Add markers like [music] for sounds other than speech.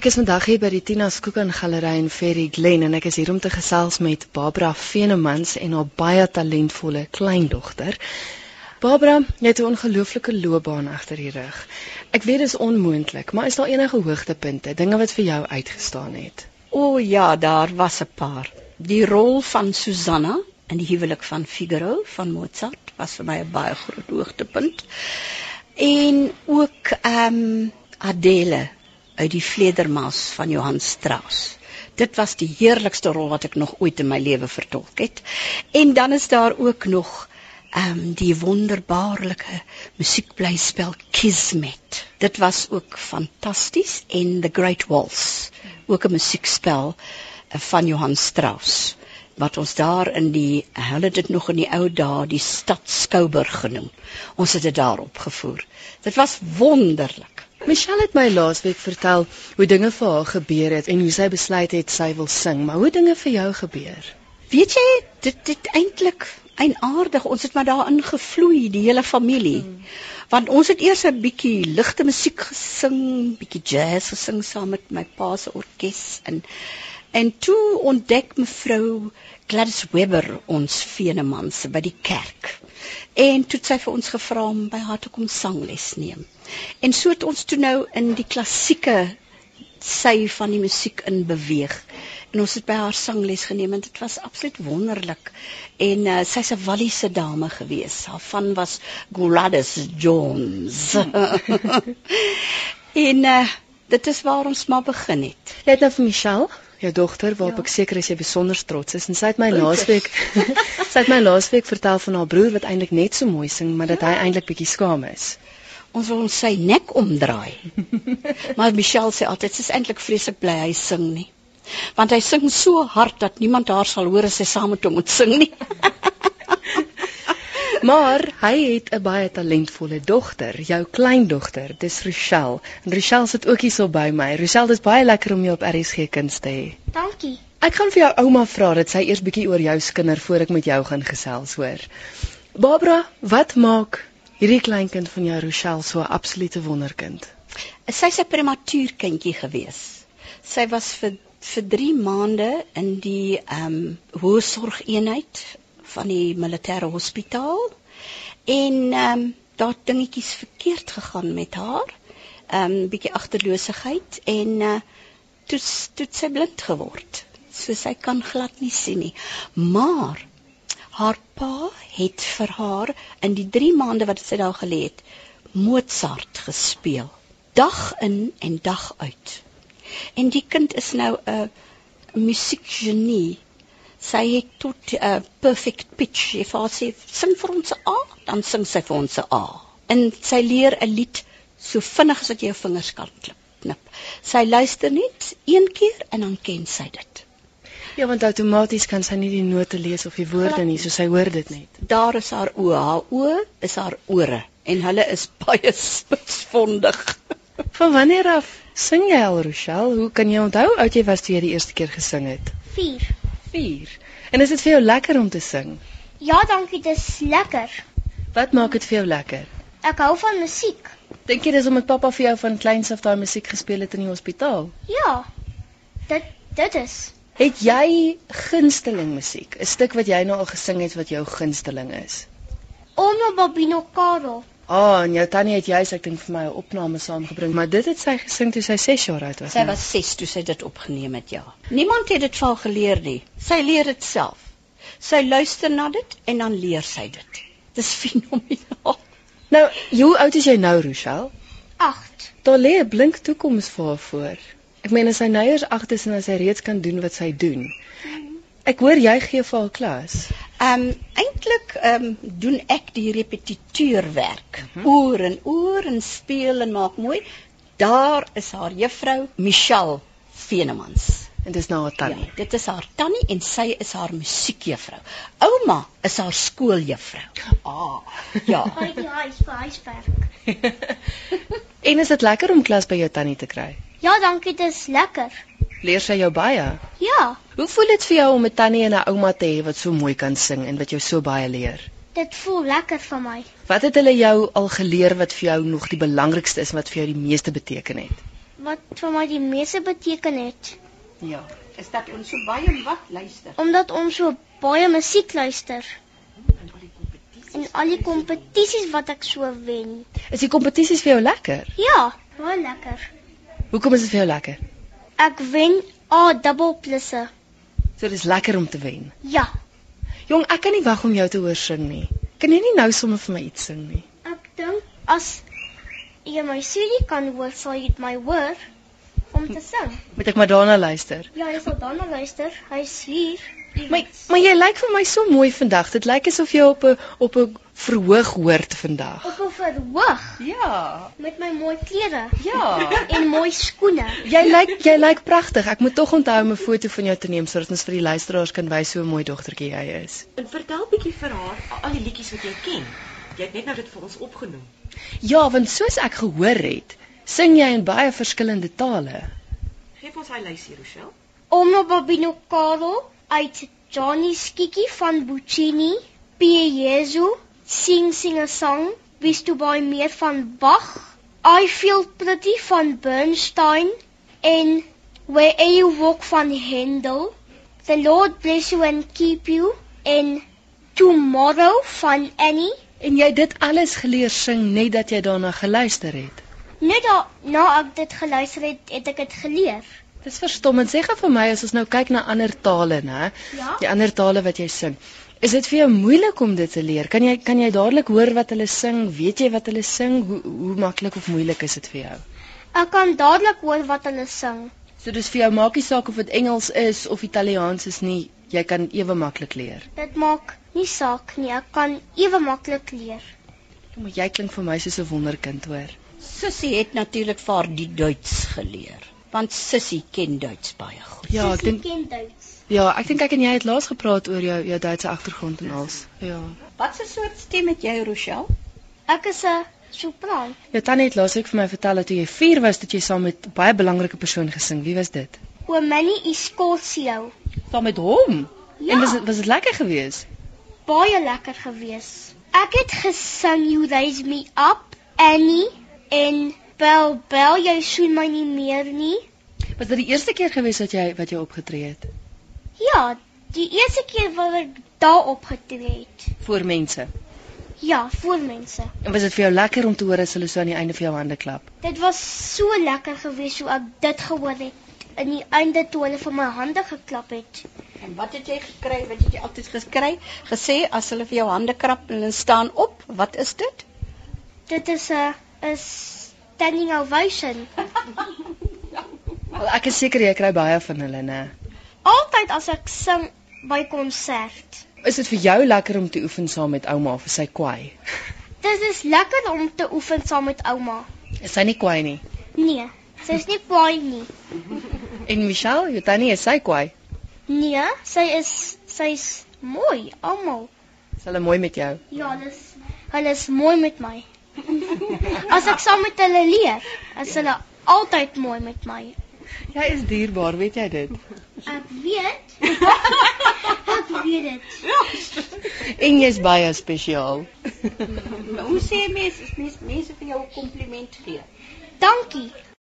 Ek is vandag hier by die Tina Skookan Galery in Ferry Glen en ek is hier om te gesels met Barbara Venemans en haar baie talentvolle kleindogter. Barbara, jy het 'n ongelooflike loopbaan agter die rug. Ek weet dis onmoontlik, maar is daar enige hoogtepunte, dinge wat vir jou uitgestaan het? O ja, daar was 'n paar. Die rol van Susanna in die huwelik van Figaro van Mozart was vir my 'n baie groot hoogtepunt. En ook ehm um, Adele uit die Vledermaas van Johann Strauss. Dit was die heerlikste rol wat ek nog ooit in my lewe vertolk het. En dan is daar ook nog ehm um, die wonderbaarlike musiekblyspel Kismet. Dit was ook fantasties en The Great Waltz, ook 'n musiekspel eh, van Johann Strauss wat ons daar in die eh, hulle dit nog in die ou dae die stad Skouberg genoem. Ons het dit daar opgevoer. Dit was wonderlik. Michelle het my laasweek vertel hoe dinge vir haar gebeur het en hoe sy besluit het sy wil sing, maar hoe dinge vir jou gebeur. Weet jy, dit dit eintlik eienaardig. Ons het maar daarin gevloei, die hele familie. Mm. Want ons het eers 'n bietjie ligte musiek gesing, bietjie jazz gesing saam met my pa se orkes en En toe ontdek mevrou Gladys Webber ons Venemanse by die kerk. En toe het sy vir ons gevra om by haar te kom sangles neem. En so het ons toe nou in die klassieke sy van die musiek in beweeg. En ons het by haar sangles geneem en dit was absoluut wonderlik. En uh, sy's 'n Walliese dame gewees. Haar van was Gladys Jones. [laughs] en uh, dit is waar ons maar begin het. Jy het nou vir Michelle jou dogter waarop ja. ek seker is jy besonder trots is en sy het my laasweek [laughs] sy het my laasweek vertel van haar broer wat eintlik net so mooi sing maar dat ja. hy eintlik bietjie skaam is. Ons wil ons sy nek omdraai. maar Michelle sê altyd sy's eintlik vreeslik bly hy sing nie. Want hy sing so hard dat niemand haar sal hoor as sy saam met hom moet sing nie. Maar hy het 'n baie talentvolle dogter, jou kleindogter, dis Rochelle. En Rochelle sit ook hierso by my. Rochelle, dis baie lekker om jou op RSG Kuns te hê. Dankie. Ek gaan vir jou ouma vra dat sy eers bietjie oor jou skinder voor ek met jou gaan gesels hoor. Barbara, wat maak hierdie kleinkind van jou Rochelle so 'n absolute wonderkind? Sy's 'n prematuur kindjie gewees. Sy was vir vir 3 maande in die ehm um, hoë sorgeenheid van die militêre hospitaal en ehm um, daar dingetjies verkeerd gegaan met haar. Ehm um, bietjie agterloosigheid en uh, toe toe sy blind geword. So sy kan glad nie sien nie. Maar haar pa het vir haar in die 3 maande wat sy daar gelê het, Mozart gespeel. Dag in en dag uit. En die kind is nou 'n musiekgenie sy het tot 'n uh, perfect pitch. Jy vir haar sê sing vir ons 'n A, dan sing sy vir ons 'n A. En sy leer 'n lied so vinnig as wat jy jou vingers kan klip, knip. Sy luister net een keer en dan ken sy dit. Ja, want outomaties kan sy nie die note lees of die woorde nie, so sy hoor dit net. Daar is haar oë, haar oë is haar ore en hulle is [laughs] baie spitsvondig. Van wanneer af sing jy al, Rochelle? Hoe kan jy onthou oud jy was toe jy die eerste keer gesing het? 4 vier. En is dit vir jou lekker om te sing? Ja, dankie, dit is lekker. Wat maak dit vir jou lekker? Ek hou van musiek. Dink jy dis omdat pappa vir jou van kleins af daai musiek gespeel het in die hospitaal? Ja. Dit dit is. Het jy gunsteling musiek? 'n Stuk wat jy nou al gesing het wat jou gunsteling is? Oma Babino Karel. Ah, oh, en jou tannie het juis ek dink vir my 'n opname saamgebring, maar dit het sy gesing toe sy 6 jaar oud was. Sy nou. was 6 toe sy dit opgeneem het, ja. Niemand het dit vir haar geleer nie. Sy leer dit self. Sy luister na dit en dan leer sy dit. Dis [laughs] fenomenaal. Nou, hoe oud is jy nou, Rochelle? 8. Daar lê 'n blink toekoms vir haar voor. Ek meen as sy nou eers 8 is en as sy reeds kan doen wat sy doen. Ek hoor jy gee vir haar klas. Ehm um, eintlik ehm um, doen ek die repetiteurwerk. Mm -hmm. Oor en oor en speel en maak mooi. Daar is haar juffrou Michelle Venemans. En dis nou haar tannie. Ja, dit is haar tannie en sy is haar musiekjuffrou. Ouma is haar skooljuffrou. Ah, [laughs] ja. Uit die huis vir huiswerk. en is dit lekker om klas by jou tannie te kry? Ja, dankie, dit is lekker. Leer sy jou baie? Ja. Hoe voel dit vir jou om 'n tannie en 'n ouma te hê wat so mooi kan sing en wat jou so baie leer? Dit voel lekker vir my. Wat het hulle jou al geleer wat vir jou nog die belangrikste is en wat vir jou die meeste beteken het? wat vir my die meeste beteken het, Ja. Is dat ons so baie wat luister omdat ons so baie musiek luister en al die kompetisie. en al die kompetisies wat ek so wen. Is die kompetisies vir jou lekker? Ja, baie lekker. Hoekom is dit vir jou lekker? Ek wen A dubbel plusse. So dis lekker om te wen. Ja, Jong, ek kan nie wag om jou te hoor sing nie. Kan jy nie nou sommer vir my iets sing nie? ek dink as jy my studie kan hoor, sal jy dit my hoor om te sing. Moet ek maar daarna luister? Ja, jy sal daarna luister. Hy's hier. Maar maar jy lyk vir my so mooi vandag. Dit lyk asof jy op 'n op 'n verhoog hoort vandag. op 'n verhoog Ja, met my mooi klere Ah. ja. en mooi skoene. [laughs] Jy lyk jy lyk pragtig. Ek moet tog onthou om 'n foto van jou te neem sodat ons vir die luisteraars kan wys hoe 'n mooi dogtertjie jy is. En vertel bietjie vir haar al die liedjies wat jy ken. Jy het net nou dit vir ons opgenoem. Ja, want soos ek gehoor het, sing jy in baie verskillende tale. Geef ons hy lysie, Rochelle. Oma Babino Karel nou uit Johnny Skikkie van Buccini, P. Jesu, Sing Sing a Song, Wist to Buy Meer van Bach, I Feel Pretty van Bernstein en Where You Walk van Handel. The Lord Bless You and Keep You en Tomorrow van Annie. En jy het dit alles geleer sing net dat jy daarna geluister het. Net daarna Nou ek dit geluister het, het ek dit geleer. Dis verstommend. Sê gou vir my as ons nou kyk na ander tale, né? Ja. Die ander tale wat jy sing. Is dit vir jou moeilik om dit te leer? Kan jy kan jy dadelik hoor wat hulle sing? Weet jy wat hulle sing? Hoe hoe maklik of moeilik is dit vir jou? Ek kan dadelik hoor wat hulle sing. So dis vir jou maakie saak of dit Engels is of Italiaans is nie. Jy kan ewe maklik leer. Dit maak nie saak nie, ek kan ewe maklik leer. Maar jy klink vir my soos 'n wonderkind, hoor. Sussie het natuurlik vir haar die Duits geleer, want Sussie ken Duits baie goed. Ja, ek Sussie dink ken Duits. ja, ek dink ek en jy het laas gepraat oor jou jou Duitse agtergrond en alles. Ja. Wat 'n soort stem het jy, Rochelle? Ek is 'n sopraan. Jou tannie het laasweek vir my vertel dat toe jy 4 was, dat jy saam met baie belangrike persoon gesing. Wie was dit? Oom Minnie Iskolsio. Saam met hom. Ja. En was dit was dit lekker geweest? Baie lekker gewees. Ek het gesing You Raise Me Up, Annie en Bel Bel jy soen my nie meer nie. Was dit die eerste keer geweest dat jy wat jy opgetree het Ja, die eerste keer wat ek daar opgetree het. voor mense? Ja, voor mense. En was dit vir jou lekker om te hoor as hulle so aan die einde vir jou hande klap? Dit was so lekker gewees hoe ek dit gehoor het. In die einde toe hulle vir my hande geklap het. En wat het jy gekry? Wat het jy altyd gekry? Gesê as hulle vir jou hande krap en hulle staan op, wat is dit? [laughs] Dit is 'n 'n standing ovation. Wel, ek is seker jy kry baie van hulle, né? Altyd as ek sing by konsert. Is dit vir jou lekker om te oefen saam met ouma vir sy kwaai? Dit is lekker om te oefen saam met ouma. Is sy nie kwaai nie? Nee, sy's nie kwaai nie. En Michelle, jou tannie, is sy kwaai? Nee, sy is sy's mooi almal. Is hulle mooi met jou? Ja, dis hulle is mooi met my. As ek saam met hulle leer, is hulle altyd mooi met my. Jy is dierbaar, weet jy dit? Ek weet. [laughs] ek weet dit. En jy's baie spesiaal. [laughs] Nou Hoe sê mense, mense mense vir jou 'n kompliment gee? Dankie.